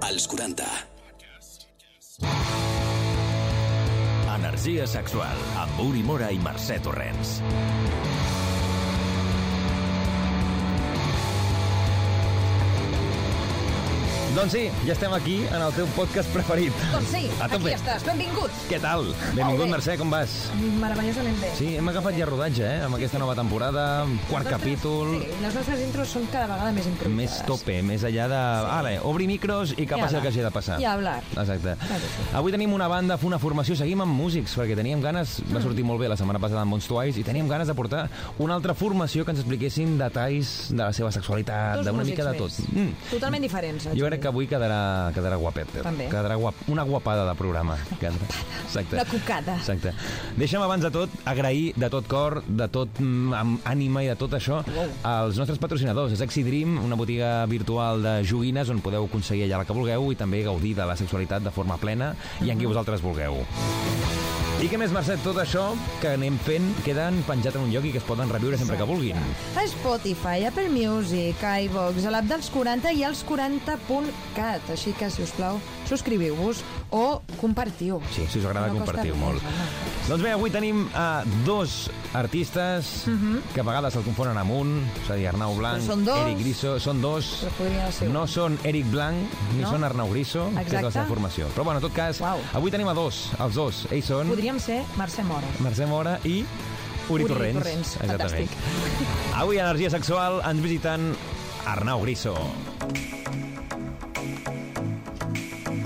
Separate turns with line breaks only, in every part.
als 40.
Energia sexual amb Uri Mora i Mercè Torrents.
Doncs sí, ja estem aquí en el teu podcast preferit.
Doncs sí,
A
aquí
tope.
estàs, benvinguts.
Què tal?
Molt
Benvingut,
bé.
Mercè, com vas?
Meravellosament bé.
Sí, hem agafat ja rodatge, eh? Amb aquesta nova temporada, quart
Les nostres-
capítol...
Doncs, Sí, les nostres intros són cada vegada més improvisades.
Més tope, més allà de... Ale, obri micros i que
I
passi el
hablar.
que hagi de passar.
I hablar.
Exacte.
Claro que sí.
Avui tenim una banda, una formació, seguim amb músics, perquè teníem ganes,
Mm.
va sortir molt bé la setmana passada amb Bons Twice, i teníem ganes de portar una altra formació que ens expliquessin detalls de la seva sexualitat,
Dos
d'una
músics
mica de tot. Mm.
més. Totalment diferents. haig
Jo
de
crec
dir.
que avui quedarà, quedarà guapet.
També.
Quedarà guap, una guapada de programa. Quedarà. Exacte.
Una cucada.
Exacte. Deixa'm abans de tot agrair de tot cor, de tot mm, amb ànima i de tot això als nostres patrocinadors. És Exidream, una botiga virtual de joguines on podeu aconseguir allà la que vulgueu i també gaudir de la sexualitat de forma plena i
Mhm.
en qui vosaltres vulgueu. I què més, Mercè, tot això que anem fent queden penjat en un lloc i que es poden reviure sempre que vulguin.
A Spotify, Apple Music, iVox, a l'app dels 40 i als 40.cat. Així que, si us plau, subscriviu-vos o compartiu.
Sí, si us agrada,
No costa
compartiu
res,
molt.
home.
Doncs bé, avui tenim uh, dos artistes que a vegades se'l confonen amb un, és a dir, Arnau Blanc,
Mhm. Però són dos.
Eric Griso, són dos.
Però podria ser un.
No són Eric Blanc ni
No?
són Arnau Griso, que és la
Exacte.
seva formació. Però bueno, en tot cas,
Uau.
avui tenim a dos, els dos. Ells són
Podríem ser Mercè Mora.
Mercè Mora i Uri,
Uri
Torrents.
Torrents,
Exactament.
fantàstic.
Avui a Energia Sexual ens visiten Arnau Griso.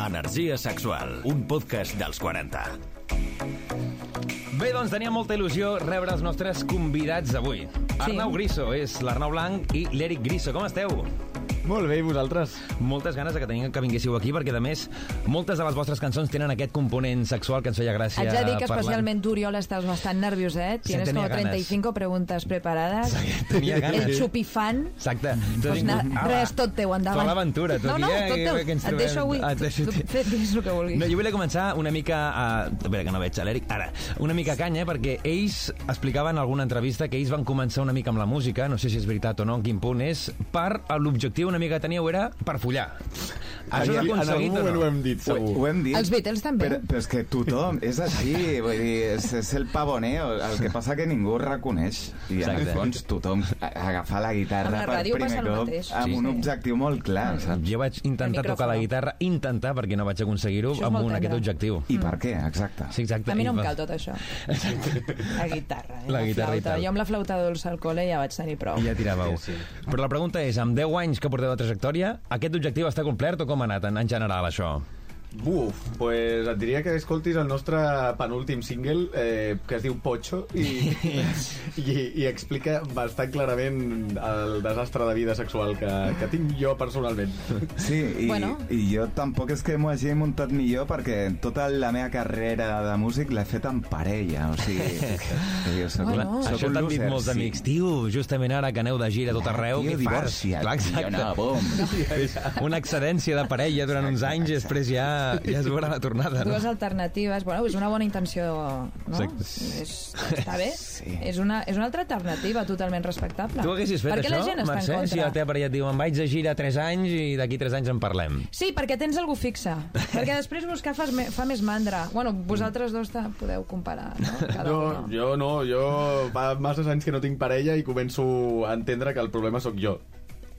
Energia sexual, un podcast dels 40.
Bé, doncs tenia molta il·lusió rebre els nostres convidats d'avui. Arnau Griso és l'Arnau Blanc i l'Eric Griso. Com esteu?
Molt bé, i vosaltres?
moltes ganes de que tenia que vinguéssiu aquí, perquè, a més, moltes de les vostres cançons tenen aquest component sexual que ens feia gràcia
Haig de dir que
parlant.
especialment tu, Oriol, estàs bastant nervioset.
Sí,
Tienes
tenia
como
ganes.
35 preguntes preparadas.
Tenia ganes.
El xupifant.
Exacte. Doncs
Pues
vingut.
na,
Ala.
res, tot teu, endavant.
Tota l'aventura, tu
No, no,
dia,
tot
eh,
teu.
que ens
Et
trobem.
deixo avui.
Ah, et deixo-
Tu- tu fes- digues el que vulguis.
No, jo volia començar una mica... A... Espera, que no veig a l'Eric. Ara, una mica a canya, perquè ells explicaven en alguna entrevista que ells van començar una mica amb la música, no sé si és veritat o no, en quin punt és, per l'objectiu una mica que teníeu era per follar. Això
En
s'ha
algun- en
aconseguit
algun
o
moment ho
no?
hem dit, segur.
Ho hem dit.
Els Beatles també.
Però, però és que tothom és així, vull dir, és, és el pavoneo, el que passa que ningú reconeix. I en el
Exacte.
fons tothom a- agafar la
Amb
guitarra
la
per
ràdio
primer
passa el
cop
mateix.
amb
Sí,
un
sí.
objectiu molt clar, saps?
Jo vaig intentar
El
tocar la
micròfon.
guitarra, intentar, perquè no vaig aconseguir-ho,
Això és
amb
molt
un, aquest
tendre.
objectiu.
I per què, exacte.
Sí, exacte.
A mi
I
no em
va-
cal tot això. La guitarra. Eh?
La guitarra i
flauta.
tal.
Jo amb la flauta dolça al col·le ja vaig tenir prou.
I ja tiràveu. Sí, sí. Però la pregunta és, amb 10 anys que porteu de trajectòria, aquest objectiu està complert o com ha anat en, en general, això?
Buf, pues et diria que escoltis el nostre penúltim single eh, que es diu Pocho i, i, i explica bastant clarament el desastre de vida sexual que, que tinc jo personalment.
Sí, i,
Bueno.
bueno. i jo tampoc és que m'ho hagi muntat millor perquè tota la meva carrera de músic l'he fet en parella, o sigui... jo soc,
Bueno.
un- soc
Això
un
t'han dit
loser,
molts
sí. Ah,
amics. Tio, justament ara que aneu de gira a tot arreu,
Tio,
què fas?
divorcia't,
Clar,
tio,
exacte.
no, bum.
Una excedència de parella durant uns anys i després ja, ja es veurà la tornada.
Dues
No?
alternatives. Bueno, és una bona intenció, no?
Exacte.
És, està bé.
Sí.
És, una, és una altra alternativa totalment respectable.
Tu haguessis fet
per què
això,
la gent està
Mercè,
en
si
contra?
la teva parella et diu em vaig de gira 3 anys i d'aquí 3 anys en parlem?
Sí, perquè tens algú fixe. perquè després buscar fa, fa més mandra. Bueno, vosaltres dos te podeu comparar, no? Cada
No,
uno.
jo no, jo fa masses anys que no tinc parella i començo a entendre que el problema sóc jo.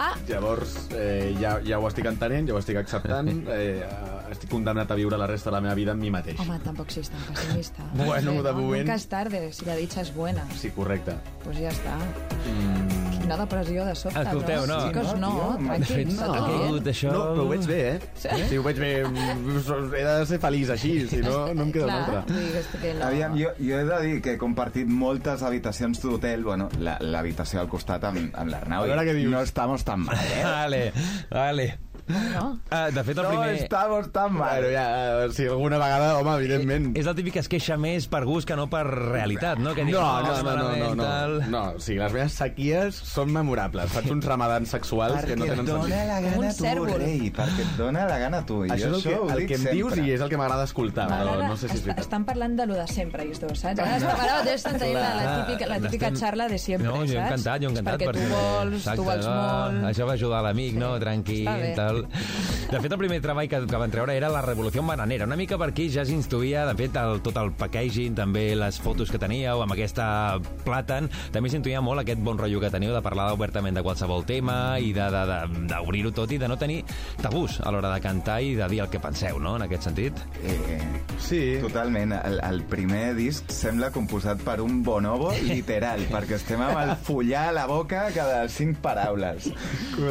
Ah,
Llavors, eh, ja, ja ho estic entenent, ja ho estic acceptant, eh, estic condemnat a viure la resta de la meva vida amb mi mateix.
Home, tampoc siguis tan pessimista.
Bueno,
Sí,
de moment.
Nunca es tarde, si la dicha es buena.
Sí, correcte.
Pues ja està. Mm. Quina depressió de sobte,
Escolteu,
no?
no.
Xicos,
Sí,
no,
no, tio, m'ha
tranquils,
fet-
no.
no.
tot
Ha
bé.
caigut això...
No, però ho veig bé, eh? Sí, ho veig bé. Mm, He de ser feliç així, si no, no em queda una
Clar,
altra.
vull dir que és que no.
Aviam, jo, jo he de dir que he compartit moltes habitacions d'hotel, bueno, la- l'habitació al costat amb, amb l'Arnau,
A veure què
i
dius.
no estamos tan mal, eh?
Vale, vale.
No?
Ah, de fet, el
No
primer...
estamos tan mal.
Bueno, ja, eh, si alguna vegada, home, evidentment...
Eh, És el típic que es queixa més per gust que no per realitat, no? Que "Oh,
No,
dius,
no,
està
no, no, no,
malament, tal".
no, no. o sigui, les meves sequies són memorables. Faig uns ramadans sexuals que no
et
tenen
dóna
sentit.
la
Com un
gana tu,
cérvol.
rei, perquè et dóna la gana tu. I
Això és
jo
el que,
ho
el
dic
que em dius
sempre.
i és el que m'agrada escoltar, però
M'agrada-
no sé si és
est-
veritat.
estan parlant de lo de sempre, ells dos, saps? Ara m'agrada que estan tenint la, la típica, la típica
Estem-
xarla de sempre,
No, jo he
saps?
encantat, jo he encantat.
Perquè tu
perquè-
vols, tu vols
va,
molt...
Això va ajudar l'amic, no? Tranquil,
Està bé.
tal, musical. De fet, el primer treball que, que van treure era La Revolució Bananera. Una mica per aquí ja s'intuïa, de fet, el, tot el packaging, també les fotos que teníeu amb aquesta plàtan, també s'intuïa molt aquest bon rotllo que teniu de parlar obertament de qualsevol tema i de- de- de- d'obrir-ho tot i de no tenir tabús a l'hora de cantar i de dir el que penseu, no?, en aquest sentit.
Eh,
Sí,
Totalment. El, el primer disc sembla composat per un bonobo literal, perquè estem amb el follar a la boca cada cinc paraules.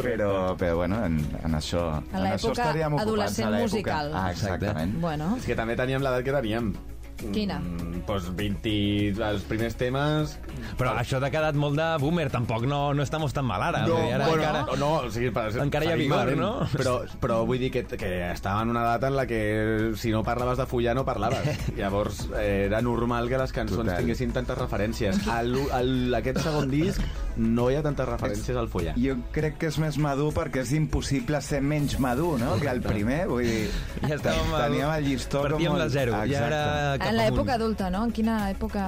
Però, però bueno, en, en això...
A
en això
l'època
estaríem ocupats,
adolescent
a l'època.
musical.
Ah, exactament.
Bueno,
és que també teníem l'edat que teníem.
Quina?
Mm, doncs 20... Els primers temes...
Però això t'ha quedat molt de boomer, tampoc no, no estamos tan mal ara. Vull dir, ara
bueno,
encara...
no, o sigui, per,
Encara hi ha
seguim
vigor,
bevent,
no?
Però, però vull dir que, que estava en una data en la que si no parlaves de follar no parlaves. Llavors eh, era normal que les cançons
Total.
Total. tinguessin tantes referències. Al, al, aquest segon disc no hi ha tantes referències al follar.
Jo crec que és més madur perquè és impossible ser menys madur, no?, que el primer. Vull dir,
Ja estàvem al-
teníem el llistó com
Partíem
molt-
del zero. I
Exacte.
ara cap
en l'època
amunt.
adulta, no? En quina època...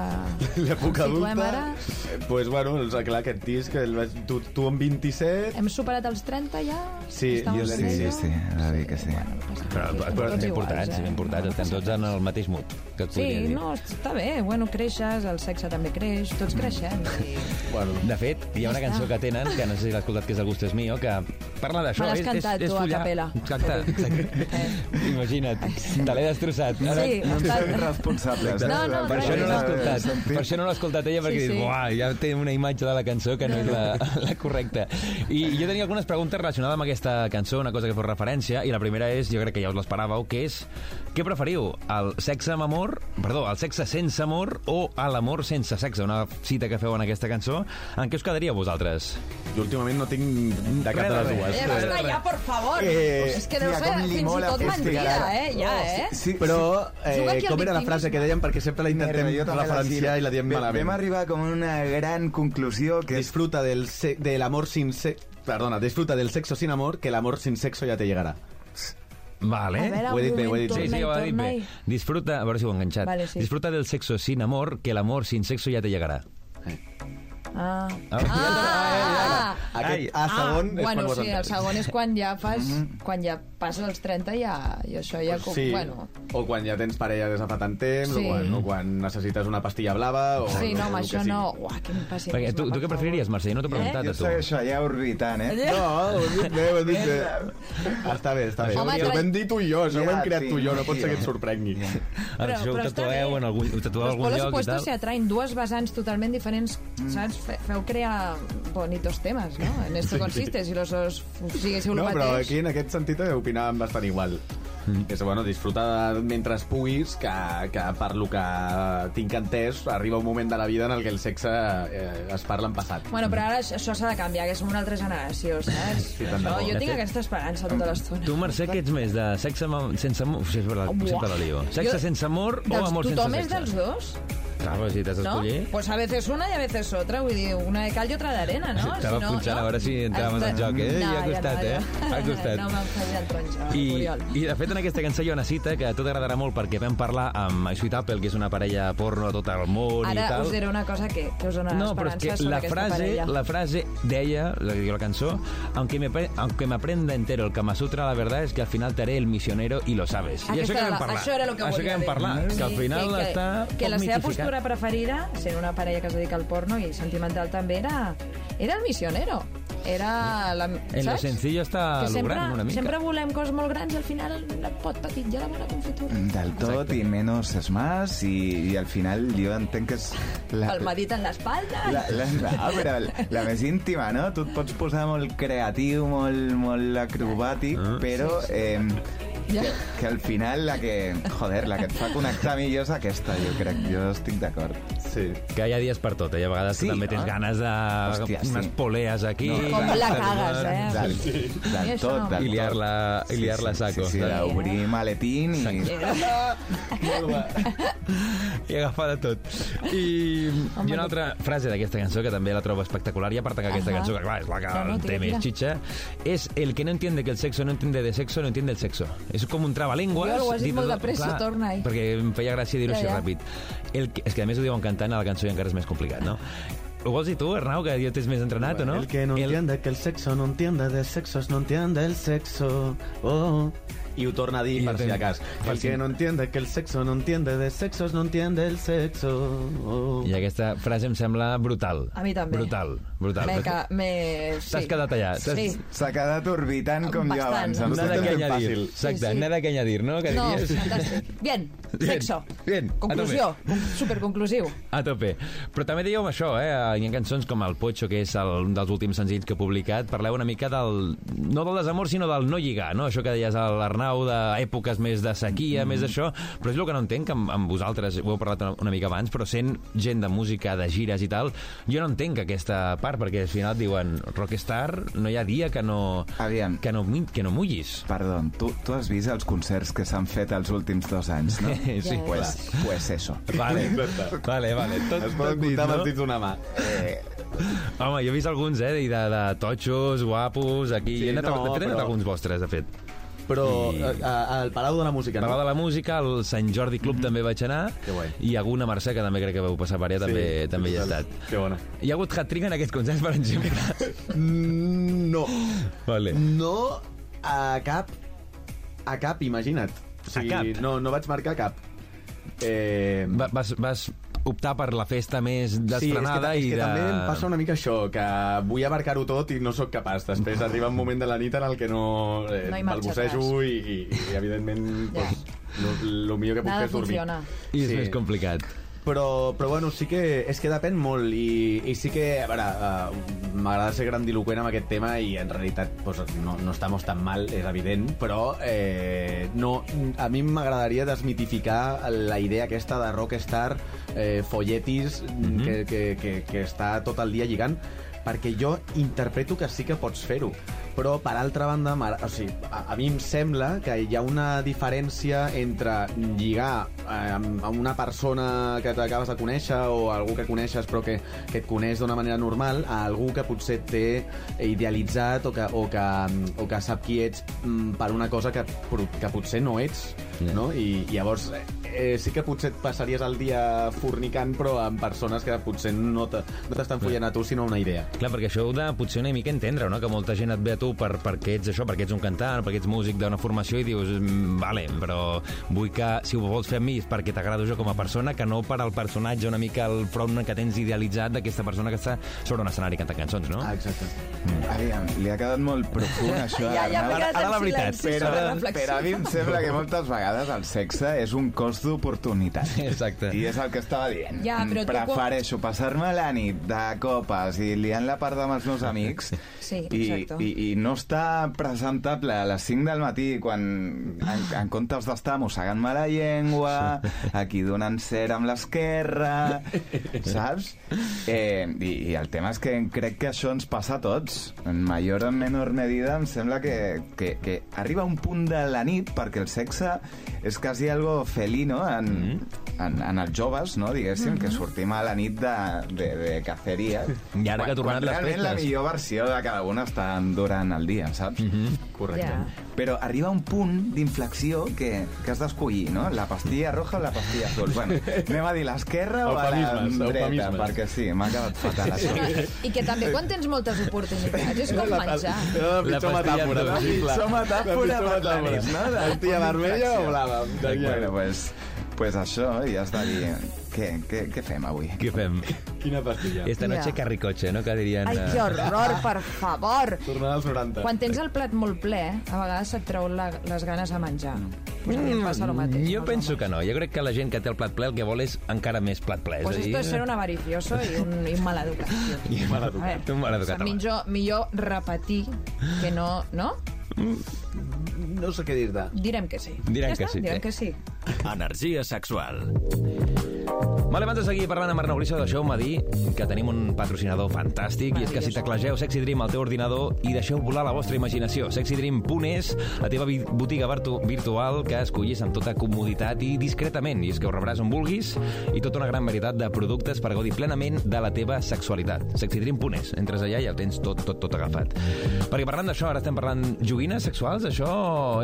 L'època
Ens situem
adulta...
ara?
Doncs pues, bueno, doncs, clar, aquest disc, el, vaig- tu, tu amb 27...
Hem superat els 30 ja?
Sí,
Estamos
jo
en
diria
Sí,
ello?
sí, sí, he de dir que sí.
Bueno, ja
Però,
està, sí,
però,
estem
però
tots
estem
iguals,
portats,
eh?
estem portats,
No
estem
passa
tots en el mateix mood, que et podria
Sí,
dir.
no, està bé, bueno, creixes, el sexe també creix, tots creixem. I...
Bueno,
De fet, hi ha una cançó que tenen, que no sé si l'has escoltat, que és El gust és mío, que parla d'això.
Me l'has
és- és-
cantat
és
tu a
follar.
capella. Eh.
Exacte, exacte. Imagina't, te l'he destrossat. Ara,
Sí,
No ens
està...
fem responsables. eh?
No,
no,
Per això no l'he escoltat. Per això no l'he escoltat ella, perquè
Sí,
sí,
sí.
sí. Uah, ja té una imatge de la cançó que no és la, la correcta. I jo tenia algunes preguntes relacionades amb aquesta cançó, una cosa que fos referència, i la primera és, jo crec que ja us l'esperàveu, que és, què preferiu, el sexe amb amor, perdó, el sexe sense amor o a l'amor sense sexe, una cita que feu en aquesta cançó, en què us quedaria vosaltres?
jo últimament no tinc de cap de
Res de
les dues.
Eh, basta ja, por favor!
Eh,
és que deu
hòstia,
ser
com li
fins i
mola
tot
aquesta
mentida,
cara.
eh? Ja, eh?
Sí, sí,
Però,
Juga
eh,
aquí el
com era la
victimisme.
frase que dèiem? Perquè sempre la intentem
Merda, jo també la
referenciar
giro.
i la diem
Ve- Vam
malament.
arribar com a una gran conclusió que és...
Disfruta del, se- del amor sin se Perdona, disfruta del sexo sin amor, que el amor sin sexo ya te llegará.
Vale.
A veure,
Ho he dit
un
bé, ho he dit
moment,
Sí,
bé.
sí,
torna i
ho ha dit
torna
bé.
i-
Disfruta, a veure si ho he enganxat.
Vale, sí.
Disfruta del sexo sin amor, que l'amor sin sexo ja te llegarà.
Ah.
Ah.
Ah!
Aquest a segon és
bueno,
quan ho has
sí, el
entès.
segon és quan ja fas... Quan ja passes els 30 ja, i això ja... Com,
Sí,
Bueno,
o quan ja tens parella des de fa tant temps,
Sí.
o, quan, o quan necessites una pastilla blava... O
sí, no, home,
el Oh, que
això
sigui.
no... Uah, quin pessimisme,
Perquè tu, tu
per
què
favor.
preferiries, Mercè? Jo No t'ho he preguntat,
Eh? Jo
a tu.
segueixo allà orbitant, eh?
Eh?
No, ho has dit bé, ho has dit bé. Està bé, està bé.
Home,
Home, ho
tra-
vam dir tu i jo, això ho hem
Ja,
creat
sí,
tu i jo, no pot ser que et
sí.
sorprengui.
Ara,
Però-
això ho
però està
tatueu
bé.
en algun, ho tatueu
Los
en algun
polos
lloc i
opuestos
tal.
se atraen dos vessants totalment diferents,
Mm.
saps? Fe- Feu crear bonitos temas, no? En esto consiste, si los dos siguéssiu el
No, però
mateix.
aquí en aquest sentit eh, opinàvem bastant igual. Mm. És, bueno, disfruta de- mentre puguis, que, que per lo que tinc entès, arriba un moment de la vida en el que el sexe eh, es parla en passat.
Bueno, però ara això s'ha de canviar, que som una altra generació, saps?
Sí, tant de
Això,
bo.
jo
De
tinc
fet-
aquesta esperança tota l'estona.
Tu, Mercè, què ets més? De sexe amb... sense amor... Sí, és veritat,
Buah.
sempre la lio. Sexe
Jo-
sense amor o
Dels-
Oh, amor sense
tothom és
sexe?
dels dos,
Clar, però si t'has
no?
d'escollir...
Pues a veces una i a veces otra, vull dir, una de cal i otra d'arena, no?
Estava
no,
punxant a veure si entràvem en el joc, eh?
No,
I ha costat,
ja
eh? Ha costat.
No m'han fallat tronxa,
I,
Oriol.
I, de fet, en aquesta cançó hi ha una cita que a tu t'agradarà molt perquè vam parlar amb Sweet Apple, que és una parella porno a tot el món i
Ara
tal.
us diré una cosa que, que us donarà
No, però és
esperança
que
sobre
la
aquesta
frase,
parella.
la frase deia, la, que diu la cançó, aunque me, apre- aunque me aprenda entero el Kama Sutra, la verdad es que al final te haré el misionero y lo sabes. I això
Aquesta
que
Ah, era
vam
la-
parlar.
Això era el que
això
volia
que vam
dir.
parlar, que al final
que,
està
que, que la
poc
seva
mitificat.
postura preferida, sent una parella que es dedica al porno i sentimental també, era, era el missionero. Era la,
En lo
saps?
sencillo està
que sempre,
logrant una mica.
sempre volem coses molt grans i al final la pot petit ja la bona confitura.
Del tot i menys és més i, i al final jo entenc que és... La,
Palmadita en l'espalda.
la, la, la, però la, la més íntima, no? Tu et pots posar molt creatiu, molt, molt acrobàtic,
Ah,
però eh,
Ja.
que, que al final la que, joder, la que et fa connectar millor és aquesta, jo crec. Jo estic d'acord.
Sí.
Que hi ha dies per tot, eh? a vegades
Sí,
tu també
no?
tens
ah.
ganes de...
Hòstia, sí.
unes polees aquí...
No,
Com la
Exacte,
cagues, eh?
Del, del
això no.
tot, del
I liar-la-
tot.
i liar-la
sí, sí,
saco.
Sí, sí,
Sí.
d'obrir maletín i...
Eh,
i agafar de tot. I, i una altra frase d'aquesta cançó, que també la trobo espectacular, i a part que aquesta
Ahà.
cançó, que clar, és la que
No, no,
en té
tira,
més
tira.
xitxa, és el que no entiende que el sexo no entiende de sexo, no entiende el sexo. És com un trabalengües.
Oriol, ho has dit
dit
molt
tot-
de pressa, torna-hi.
Perquè em feia gràcia dir-ho
Ja,
així
ja.
ràpid. El, que- és que a més ho diuen cantant a la cançó i encara és més complicat, no? Ho vols dir tu, Arnau, que ja tens més entrenat, o no?
El que no entienda que el sexo no entienda de sexos, no entienda el sexo. Oh. I ho torna a dir,
I
per si
atent-
de cas.
per
El
si-
que no entienda que el sexo no entienda de sexos, no entienda el sexo. Oh.
I aquesta frase em sembla brutal.
A mi també.
Brutal, brutal.
Me, ca... me...
T'has quedat allà, t'has-
Sí.
S'ha quedat orbitant com jo
Bastant.
abans. em
Nada
Nada
sembla
que
tan
añadir.
fàcil.
Exacte,
Sí, sí.
nada que añadir, no? Que
No,
diries?
fantàstic. Bien,
Bien,
sexo.
bien, a
Conclusió, superconclusiu.
A tope. Però també dèieu això, eh? Hi ha cançons com El Pocho, que és el, un dels últims senzills que he publicat. Parleu una mica del... No del desamor, sinó del no lligar, no? Això que deies a l'Arnau, d'èpoques més de sequia, mm. més d'això. Però és el que no entenc, que amb, amb vosaltres, ho heu parlat una, una mica abans, però sent gent de música, de gires i tal, jo no entenc aquesta part, perquè al final et diuen rockstar, no hi ha dia que no...
Aviam.
Que no, mi- que no mullis.
Perdó, tu, tu has vist els concerts que s'han fet els últims dos anys, no?
Sí.
Pues, pues eso.
Vale, vale, vale. Tot,
Es poden
tot dit,
comptar amb
no?
els dits d'una mà.
Home, jo he vist alguns, eh, de, de, de totxos, guapos, aquí...
Sí,
Sí, he anat,
no,
no, de fet, he anat
però-
a alguns vostres, de fet.
Però eh, a- al Palau de la Música,
Parlar
no?
de la música, al Sant Jordi Club també vaig anar,
Mm-hmm. Que guai.
i alguna Mercè, que també crec que veu passar per allà, també, també hi he estat.
Que bona.
Hi ha hagut hat-trick en aquests concerts, per exemple?
Mm, No.
vale.
No a cap... A cap, imagina't. O
cap?
No, no vaig marcar cap. Eh,
Va, vas, vas optar per la festa més
sí, és que,
destrenada
ta- és
i
que
de...
també em passa una mica això, que vull abarcar-ho tot i no sóc capaç. Després arriba un moment de la nit en el que no... Eh,
No hi marxa
balbucejo i, i, i, evidentment,
Ja.
pues, lo, lo millor que puc
Nada
fer és dormir.
funciona.
I és
Sí.
sí. més complicat.
Però, però bueno, sí que, és que depèn molt i, i sí que, a veure, uh, m'agrada ser grandiloquent amb aquest tema i en realitat pues, no, no estem tan mal, és evident, però eh, no, a mi m'agradaria desmitificar la idea aquesta de rockstar, eh, folletis, mm -hmm. que, que, que, que està tot el dia lligant, perquè jo interpreto que sí que pots fer-ho però per altra banda m'agra- o sigui, a, a mi em sembla que hi ha una diferència entre lligar eh, amb, amb una persona que t'acabes de conèixer o algú que coneixes però que, que et coneix d'una manera normal a algú que potser et té idealitzat o que, o que, o que sap qui ets mm, per una cosa que, pro- que potser no ets
Ja.
no? I, i llavors eh, eh, sí que potser et passaries el dia fornicant però amb persones que potser no te- no t'estan no follant a tu sinó una idea
Clar, perquè això heu de potser una mica entendre, no? Que molta gent et ve a tu per, perquè ets això, perquè ets un cantant, perquè ets músic d'una formació i dius, "Mm, vale, però vull que, si ho vols fer amb mi, és perquè t'agrado jo com a persona, que no per al personatge una mica el front que tens idealitzat d'aquesta persona que està sobre un escenari cantant cançons, no?
ah, exacte
Mm, Aviam, li ha quedat molt profund, això.
Ja, ja
Arnau.
m'he quedat
ara la
en
veritat,
silenci
Però,
sobre la
però a mi
reflexió.
em sembla que moltes vegades el sexe és un cost d'oportunitat.
Exacte.
I és el que estava dient. Mm,
Ja, però tu quan-
Prefereixo passar-me la nit de copes i liant la part amb els meus amics
Sí,
i,
exacte.
i, i no estar presentable a les 5 del matí quan en, en comptes d'estar mossegant-me la llengua, aquí donant cera amb l'esquerra, saps? Eh, i, I el tema és que crec que això ens passa a tots. En major o en menor medida em sembla que, que, que arriba un punt de la nit perquè el sexe és quasi algo felino en, en, en els joves, no? diguéssim, que sortim a la nit de, de, de caceria.
I ara que ha tornat
quan
les
realment la
festes.
millor versió de cada un està durant el dia, saps?
Mhm.
correcte
Ja.
Però arriba un punt d'inflexió que, que has d'escollir, no? La pastilla roja o la pastilla azul. Bueno, anem a dir l'esquerra o a la
Eufemismes,
dreta,
eufemismes.
perquè sí, m'ha quedat fatal això.
I que també quan tens moltes oportunitats és com menjar.
La, la pitjor
La pastilla
metàfora
azul.
possible.
La pitjor metàfora
La pitjor
per la
metàfora.
nit, no? De-
Pastilla vermella o blava?
bueno, pues, pues això, i has de dir... Què, què, què fem avui?
Què fem?
Quina pastilla?
Esta
Ja.
noche carricoche, no? Que dirien...
Ai,
eh,
que horror, per favor!
Tornada als 90.
Quan tens el plat molt ple, a vegades se't treu la, les ganes a menjar. Pues a mi em passa el mateix.
Mm, Jo penso que no. Jo crec que la gent que té el plat ple el que vol és encara més plat ple.
Pues
és
esto
a
es
dir...
ser un avaricioso i un, i un mal educat.
I un mal
A
educat.
veure,
Un mal
o
educat,
sigui,
home.
millor, millor repetir que no... No?
No sé què dir-te.
Direm que sí.
Direm
ja
que
està?
sí. eh?
Direm que sí.
Energia sexual.
Vale, abans de seguir parlant amb Arnau Grisa, deixeu-me dir que tenim un patrocinador fantàstic i és que si teclegeu Sexy Dream al teu ordinador i deixeu volar la vostra imaginació. SexyDream.es, la teva vi- botiga virtu virtual que escollis amb tota comoditat i discretament. I és que ho rebràs on vulguis i tota una gran varietat de productes per gaudir plenament de la teva sexualitat. SexyDream.es, entres allà i ja ho tens tot, tot, tot agafat. Perquè parlant d'això, ara estem parlant joguines sexuals, això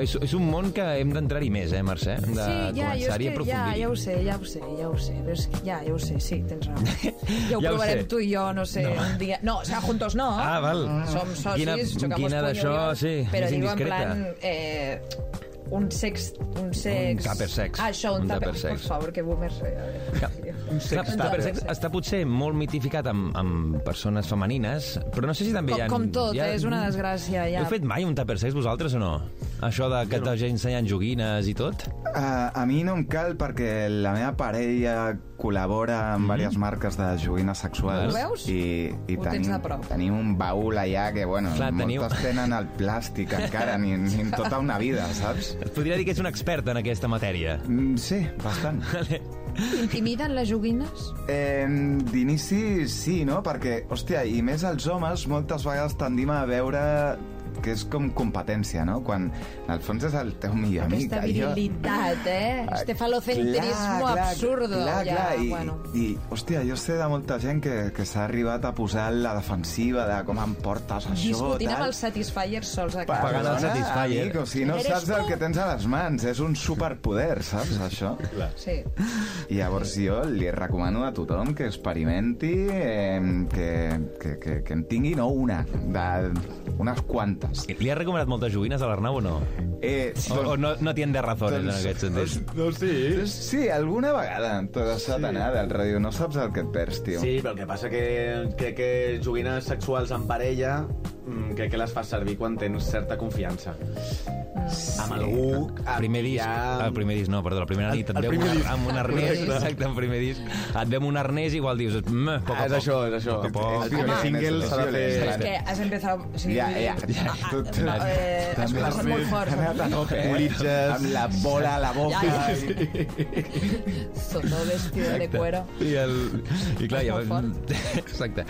és, és un món que hem d'entrar-hi més, eh, Mercè? Hem De
sí, ja,
començar-hi
jo és
a
que ja,
aprofundir.
ja ho sé, ja ho sé, ja ho sé. Però és que Ja, ja ho sé, sí, tens raó. Ja ho
Ja ho
provarem
sé.
tu i jo, no sé, un dia... No, o sea, juntos no.
Ah, val.
Som socis,
Quina-
xocamos
quina
puños,
d'això,
digamos,
sí,
Però
és
diu en
indiscreta.
plan... Eh, un sex... Un sex...
Un tupper sex.
Ah, això, un,
Un
tupper,
tupper sex.
Per favor, que boomers... Eh, un
Clar, Tupper Sex està potser molt mitificat amb, amb persones femenines, però no sé si també
Com,
hi ha...
com tot,
hi ha...
eh, és una desgràcia, ja.
Heu fet mai un tupper sex vosaltres o no? Això de que t'hagi ensenyant joguines i tot?
A, a mi no em cal perquè la meva parella col·labora amb mm -hmm. diverses marques de joguines sexuals.
Ho veus?
I, i
Ho tens
tenim,
a prop.
tenim un baúl allà que, bueno,
Clar,
moltes
teniu-
tenen el plàstic encara, ni, ni en tota una vida, saps?
Et podria dir que ets un expert en aquesta matèria.
Mm, sí, bastant.
Intimiden les joguines?
Eh, D'inici sí, no? Perquè, hòstia, i més els homes moltes vegades tendim a veure que és com competència, no? Quan en el fons és el teu millor amic.
Aquesta
allò-
virilitat, eh?
Ah,
Este falocentrismo
clar, clar,
absurdo.
Clar,
ja,
clar, i,
bueno.
i, hòstia, jo sé de molta gent que, que s'ha arribat a posar en la defensiva de com em portes això,
Discutint
tal.
amb els Satisfyers sols a casa.
Pagant el
Perdona,
Satisfyer.
Amic, o sigui, no
Eres
saps
tu?
el que tens a les mans, és un superpoder, saps, això?
Sí.
I llavors jo li recomano a tothom que experimenti, eh, que, que, que, que en tingui no una, de unes quantes.
Li has recomanat moltes joguines a l'Arnau o no?
Eh,
O,
Doncs-
o no, no tien de razones en aquest sentit?
No, sí.
Sí, alguna vegada te desatanada al ràdio. No saps el que et perds, tio.
Sí, però el que passa que crec que joguines sexuals en parella mm, crec que les fas servir quan tens certa confiança. Amb algú...
El primer disc,
ja-
el primer disc, no, perdó, la primera
El-
nit et
el
veu
primer
un,
disc.
ar- amb un arnès,
Correcte.
exacte, el primer disc, et veu un arnès i igual dius, mm, poc a
Ah, és
poc.
això, és això.
Poc a poc.
És violent,
Home,
single
és
s'ha de
violent.
fer...
És que has empezado... Sí,
Ja,
vull dir-
ja, ja.
Ah,
Tu- tu-
no, eh, has
també
començat
has
molt
fet-
fort.
has anat a tope, eh?
Politges.
Amb la bola a la boca.
Ja, ja, Sotó vestido de cuero.
I, el... I clar,
És
llavors...
molt
Exacte.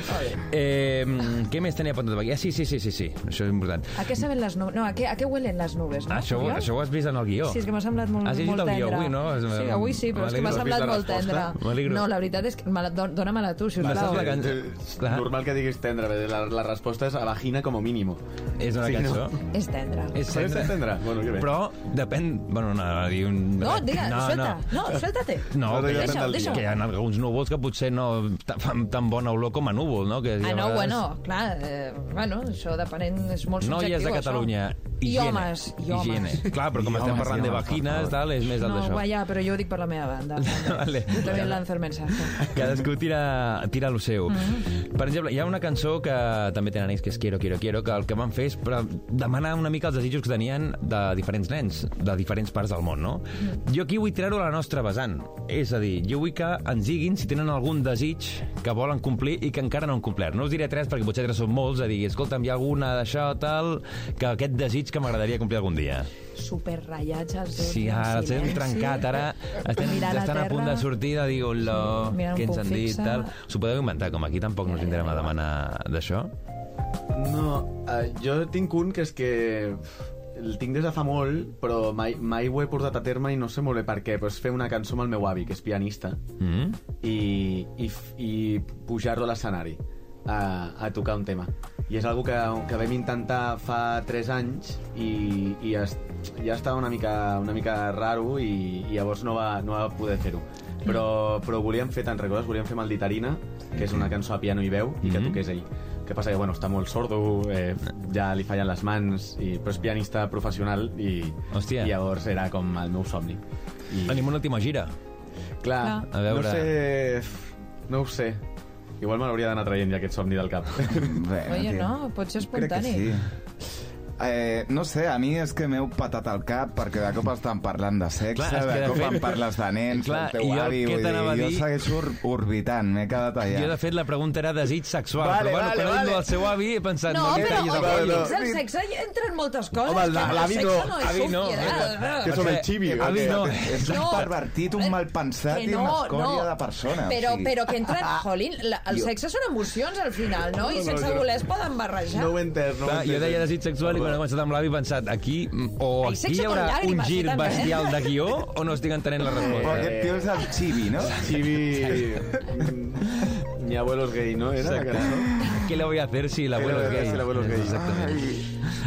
Eh, què més tenia apuntat per aquí? Ah, sí, sí, sí, sí, sí. Això és important.
A què saben les nubes? No, a què, a què huelen les nubes, no?
Ah, això,
Oriol?
això ho has vist en el guió.
Sí, és que m'ha semblat molt,
Has llegit
molt
el guió
tendre.
avui, no?
Sí, avui sí, però és que m'ha
M'alegro.
semblat
Has vist la
molt tendre.
resposta?
M'alegro.
No, la veritat és que me la- don- dóna-me-la tu,
No
sisplau.
saps la cançó? Clar,
Normal que diguis tendre, perquè la, la resposta és a vagina com a mínimo.
és una
Sí, no.
cançó.
És tendre.
És
Saps
tendre.
tendre? Bueno, que bé.
Però depèn... Bueno, no, no, dir un...
No, diga,
no,
suelta. No, suéltate.
No, que,
Deixa-ho,
Nosaltres ja tenen el
deixa-ho.
que hi ha alguns núvols que potser no ta- fan tan bona olor com a núvol, no? Que
Ah,
a
no,
vegades-
bueno, clar, eh, bueno, això depenent, és molt subjectiu.
Noies de
això.
Catalunya,
I
higiene.
homes, i homes.
Higiene. Clar, però com
I
estem
homes,
parlant
i
de
homes, per
vagines,
favor.
tal, és més el
No,
d'això.
guai, ja, però jo ho dic per la meva banda.
Vale.
Jo també lanzo el mensatge.
Cadascú tira, tira el seu. Per exemple, hi ha una cançó que també tenen ells, que és Quiero, Quiero, Quiero, que el que van fer és pre- demanar una mica els desitjos que tenien de diferents nens, de diferents parts del món, no? Jo aquí vull treure la nostra vessant. És a dir, jo vull que ens diguin si tenen algun desig que volen complir i que encara no han complert. No us diré tres, perquè potser tres són molts, a dir, escolta'm, hi ha alguna d'això, tal, que aquest desig que m'agradaria complir algun dia.
Super ratllats els dos.
Sí,
en
ara els hem
silenci.
trencat, ara estem,
Mirant a
estan a,
terra.
punt de sortir de dir, hola,
Sí, mirant un
què ens
punt
han dit,
fixe.
tal. S'ho podeu inventar, com aquí tampoc no us vindrem a demanar d'això.
No, eh, jo tinc un que és que el tinc des de fa molt, però mai, mai ho he portat a terme i no sé molt bé per què. Però és fer una cançó amb el meu avi, que és pianista,
Mm?
i, i, f- i pujar-lo a l'escenari a, a tocar un tema. I és algo que, que vam intentar fa 3 anys i, i es, ja estava una mica, una mica raro i, i llavors no va, no va poder fer-ho. Però, però volíem fer, te'n recordes? Volíem fer Malditarina, que és una cançó a piano i veu, i que
Mhm.
toqués ell. Que passa que, bueno, està molt sordo, eh, ja li fallen les mans, i, però és pianista professional i,
Hòstia.
i llavors era com el meu somni. I,
Tenim una última gira.
Clar,
Clar. A veure.
no sé... No ho sé. Igual me l'hauria d'anar traient ja aquest somni del cap.
Bé,
eh?
Oye,
tio.
no, pot ser
Crec que
espontani.
sí. Eh, no sé, a mi és que m'heu patat el cap perquè de cop estan parlant de sexe,
Clar, és
de,
que de
cop
fet-
em parles de nens,
Clar,
del
i
teu
jo el
avi,
que
vull dir,
t'anava a
jo
dir-
segueixo or- orbitant, m'he quedat allà.
Jo, de fet, la pregunta era desig sexual,
Vale,
però bueno,
vale,
parlant
vale.
del seu avi, he pensat...
No,
em
però
tallis el
oye,
rotllo.
dins el sexe hi entren moltes coses.
Home, el-
que
l'avi
sexe
no,
no és eh?
avi no.
obviedat.
Que som el xivi. o
Eh, Avi,
què?
no.
És un
No. Eh,
pervertit, un malpensat
Que
i una escòria de persona.
Però,
o sigui. Ah,
però que entren... Jolín, la, el sexe són emocions al final, no? I sense voler es poden barrejar.
No ho he entès, no ho
Clar,
he entès.
jo deia desig sexual i quan he començat amb l'avi he pensat aquí mm, o
Ai,
aquí
sexe
hi
con
haurà un
llàgrimes,
gir
sí, també.
bestial de guió o no estic entenent la
Però
resposta?
aquest tio és el xivi, no?
Xivi... Mi abuelo es gay, no? Era la cançó.
¿Qué le voy a hacer si l'abuelo
voy a
es
hacer
gay?
si el abuelo es gay?
Exactament.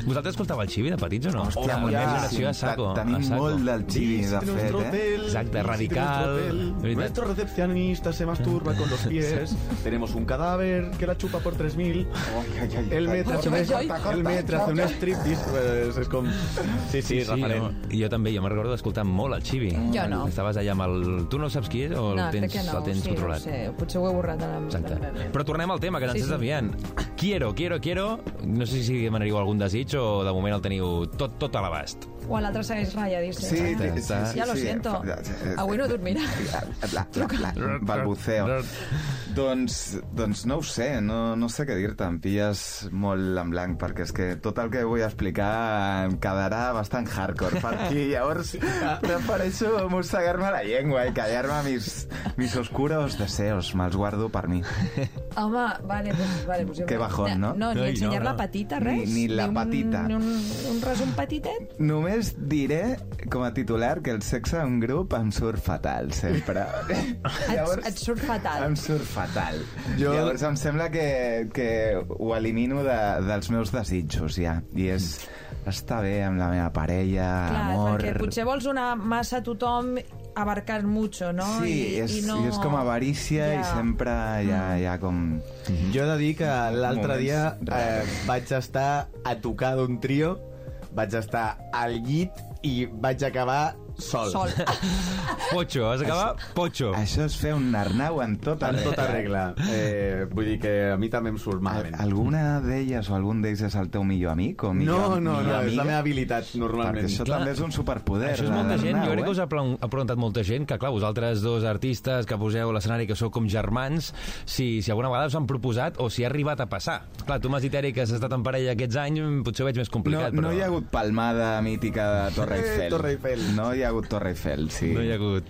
Vosaltres escoltàveu el Xivi de petits o no?
Hòstia,
la meva generació a
moltíssim.
saco.
Tenim
a saco.
molt del Xivi, de
Visite
fet,
nuestro
eh?
hotel,
Exacte,
visite
radical,
nuestro hotel.
de veritat.
Nuestro recepcionista se masturba con los pies. Tenemos un cadáver que la chupa por 3.000. El metre hace un, el metre hace un striptease. Pues és com... Sí, sí,
Sí,
referent.
no? jo també, jo me'n recordo d'escoltar molt el Xivi.
Jo no.
Estaves allà amb el... Tu no saps qui és o el
no, crec
tens,
que no.
el tens
sí,
controlat?
No sé, potser ho he borrat de la
Exacte.
de la memòria.
Però tornem al tema, que ens
Sí,
sí,
sí.
desviant. Quiero, quiero, quiero... No sé si demanaríeu algun desig o de moment el teniu tot, tot a l'abast.
O l'altre segueix rayadíssim.
Sí, sí, sí, sí,
Ja lo
sí.
siento.
Fa-
Avui no dormirà.
La, la, la, la, balbuceo. Doncs, doncs no ho sé, no, no sé què dir-te, em pilles molt en blanc, perquè és que tot el que vull explicar em quedarà bastant hardcore per aquí, llavors prefereixo mossegar-me la llengua i callar-me mis, mis oscuros deseos, me'ls guardo per mi.
Home, vale, pues, vale, pues, jo-
Que bajón, no?
No, ni
Ai,
ensenyar
no, no.
la patita, res.
Ni- ni la
un-
patita.
Ni un, un resum petitet.
Només diré, com a titular, que el sexe en grup em surt fatal, sempre.
Et, et surt fatal.
Em surt fatal.
Jo-
Jo... Llavors em sembla que, que ho elimino de, dels meus desitjos, ja. I és estar bé amb la meva parella,
Clar,
amor...
perquè potser vols una massa a tothom abarcar mucho, no?
Sí,
I,
és,
i no... Mm.
i és com avarícia yeah. i sempre hi ha, hi ha com...
Jo he de dir que l'altre
Mhm. Moments
dia eh,
raros.
vaig estar a tocar d'un trio, vaig estar al llit i vaig acabar sol.
Sol.
Pocho, has acabat? Pocho.
Això és fer un narnau en tota
En
regla.
tota regla. Eh, vull dir que a mi també em surt malament.
Al- Alguna d'elles o algun d'ells és el teu millor amic o
No,
millor,
no,
millor
no, és
amiga?
la meva habilitat, normalment.
Perquè això
Clar.
també és un superpoder.
Això és
la
molta gent,
d'Arnau,
jo crec que
eh?
us ha aplau- ha preguntat molta gent, que clar, vosaltres dos artistes que poseu a l'escenari que sou com germans, si, si alguna vegada us han proposat o si ha arribat a passar. Clar, tu m'has dit, Eric, que has estat en parella aquests anys, potser ho veig més complicat,
no,
però...
No hi ha hagut palmada mítica de Torre
Eh,
Eiffel.
Torre Eiffel.
No hi ha hagut Torre Eiffel, sí.
No hi ha hagut.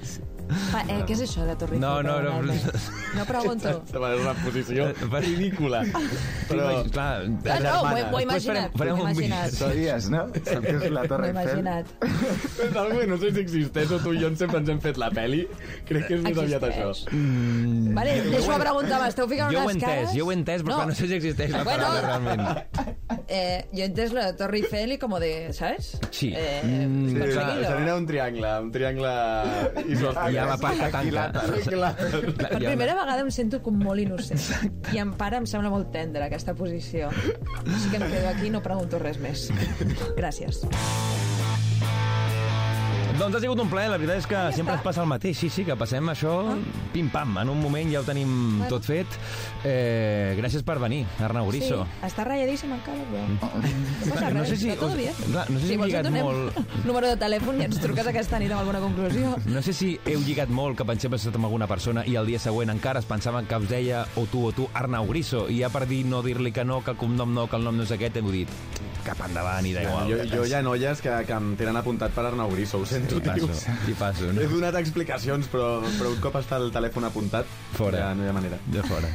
Pa, eh, què és això de Torrijos?
No, no, no.
No pregunto.
Estava en una posició
Per-
ridícula. Però...
Però... Clar,
Ah, no, ho he, ho he
Després farem-
imaginat.
farem
ho he
un vídeo.
imaginat.
Sabies, no? Saps què és la
M'ho
Torre
he
Eiffel?
imaginat.
És algo que no sé si existeix o tu i jo ens sempre ens hem fet la peli. Crec que és més aviat això.
Existeix.
Mm.
Vale, deixo-me preguntar, m'esteu ficant
Jo ho he
unes
entès,
cares?
jo ho he entès, però no, no sé si existeix la
Bueno.
paraula realment.
Eh, yo entiendo lo de Torre Eiffel y como de, ¿sabes?
Sí.
Eh,
Mm,
Sí,
conseguido.
seria un triangle, un triangle isosceles.
Hi ha la part que tanca.
Clar.
Clar,
Per
hi ha
primera vegada em sento com molt innocent. I en part em sembla molt tendre, aquesta posició. Així que em quedo aquí i no pregunto res més. Gràcies.
Doncs ha sigut un plaer, la veritat és que ja sempre ens passa el mateix. Sí, sí, que passem això
Ah.
pim-pam. En un moment ja ho tenim bueno. tot fet. Eh, gràcies per venir, Arnau Grisso.
Sí, està ratlladíssim encara, però... eh? No passa
Clar,
res,
Mm. no sé si-
està tot bé.
clar, no sé si hem
vols et
lligat
donem
molt.
Número de telèfon i ens truques aquesta nit amb alguna conclusió.
No sé si heu lligat molt que pensem que estat amb alguna persona i el dia següent encara es pensaven que us deia o tu o tu Arnau Grisso i ja per dir no dir-li que no, que el cognom no, que el nom no és aquest, heu dit cap endavant i da igual.
Jo, jo hi ha noies que, que em tenen apuntat per Arnau Grisso, ho sento,
I
tio.
passo, i passo.
He
No?
donat explicacions, però, però un cop està el telèfon apuntat,
Fora.
ja no hi ha manera.
De fora.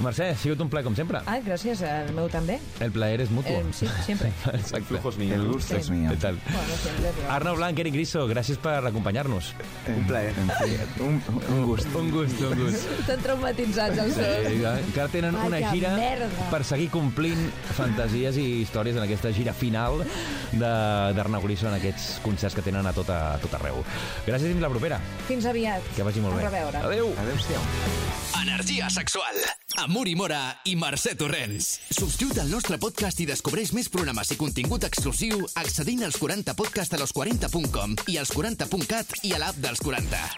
Mercè, ha sigut un plaer com sempre.
Ah, gràcies, el meu també.
El plaer és mutu.
Eh, sí, sempre.
Exacte.
Flujos míos.
El gust
Sí.
és mío.
Total.
Bueno, sempre, però...
Arnau Blanc, Eric Grisso, gràcies per acompanyar-nos.
Un plaer.
En fi, un, un gust.
Un gust, un gust.
Estan traumatitzats els dos.
Eh, encara tenen
Vaya
una gira
merda.
per seguir complint fantasies i històries en aquesta gira final de- d'Arnau Grisso en aquests concerts que tenen a tot, a, tot arreu. Gràcies i fins la propera.
Fins aviat.
Que vagi molt
A
bé.
reveure.
Adéu.
Adéu-siau.
Energia sexual amb Uri Mora i Mercè Torrents. Subscriu't al nostre podcast i descobreix més programes i contingut exclusiu accedint als 40podcastalos40.com i als 40.cat i a l'app dels 40.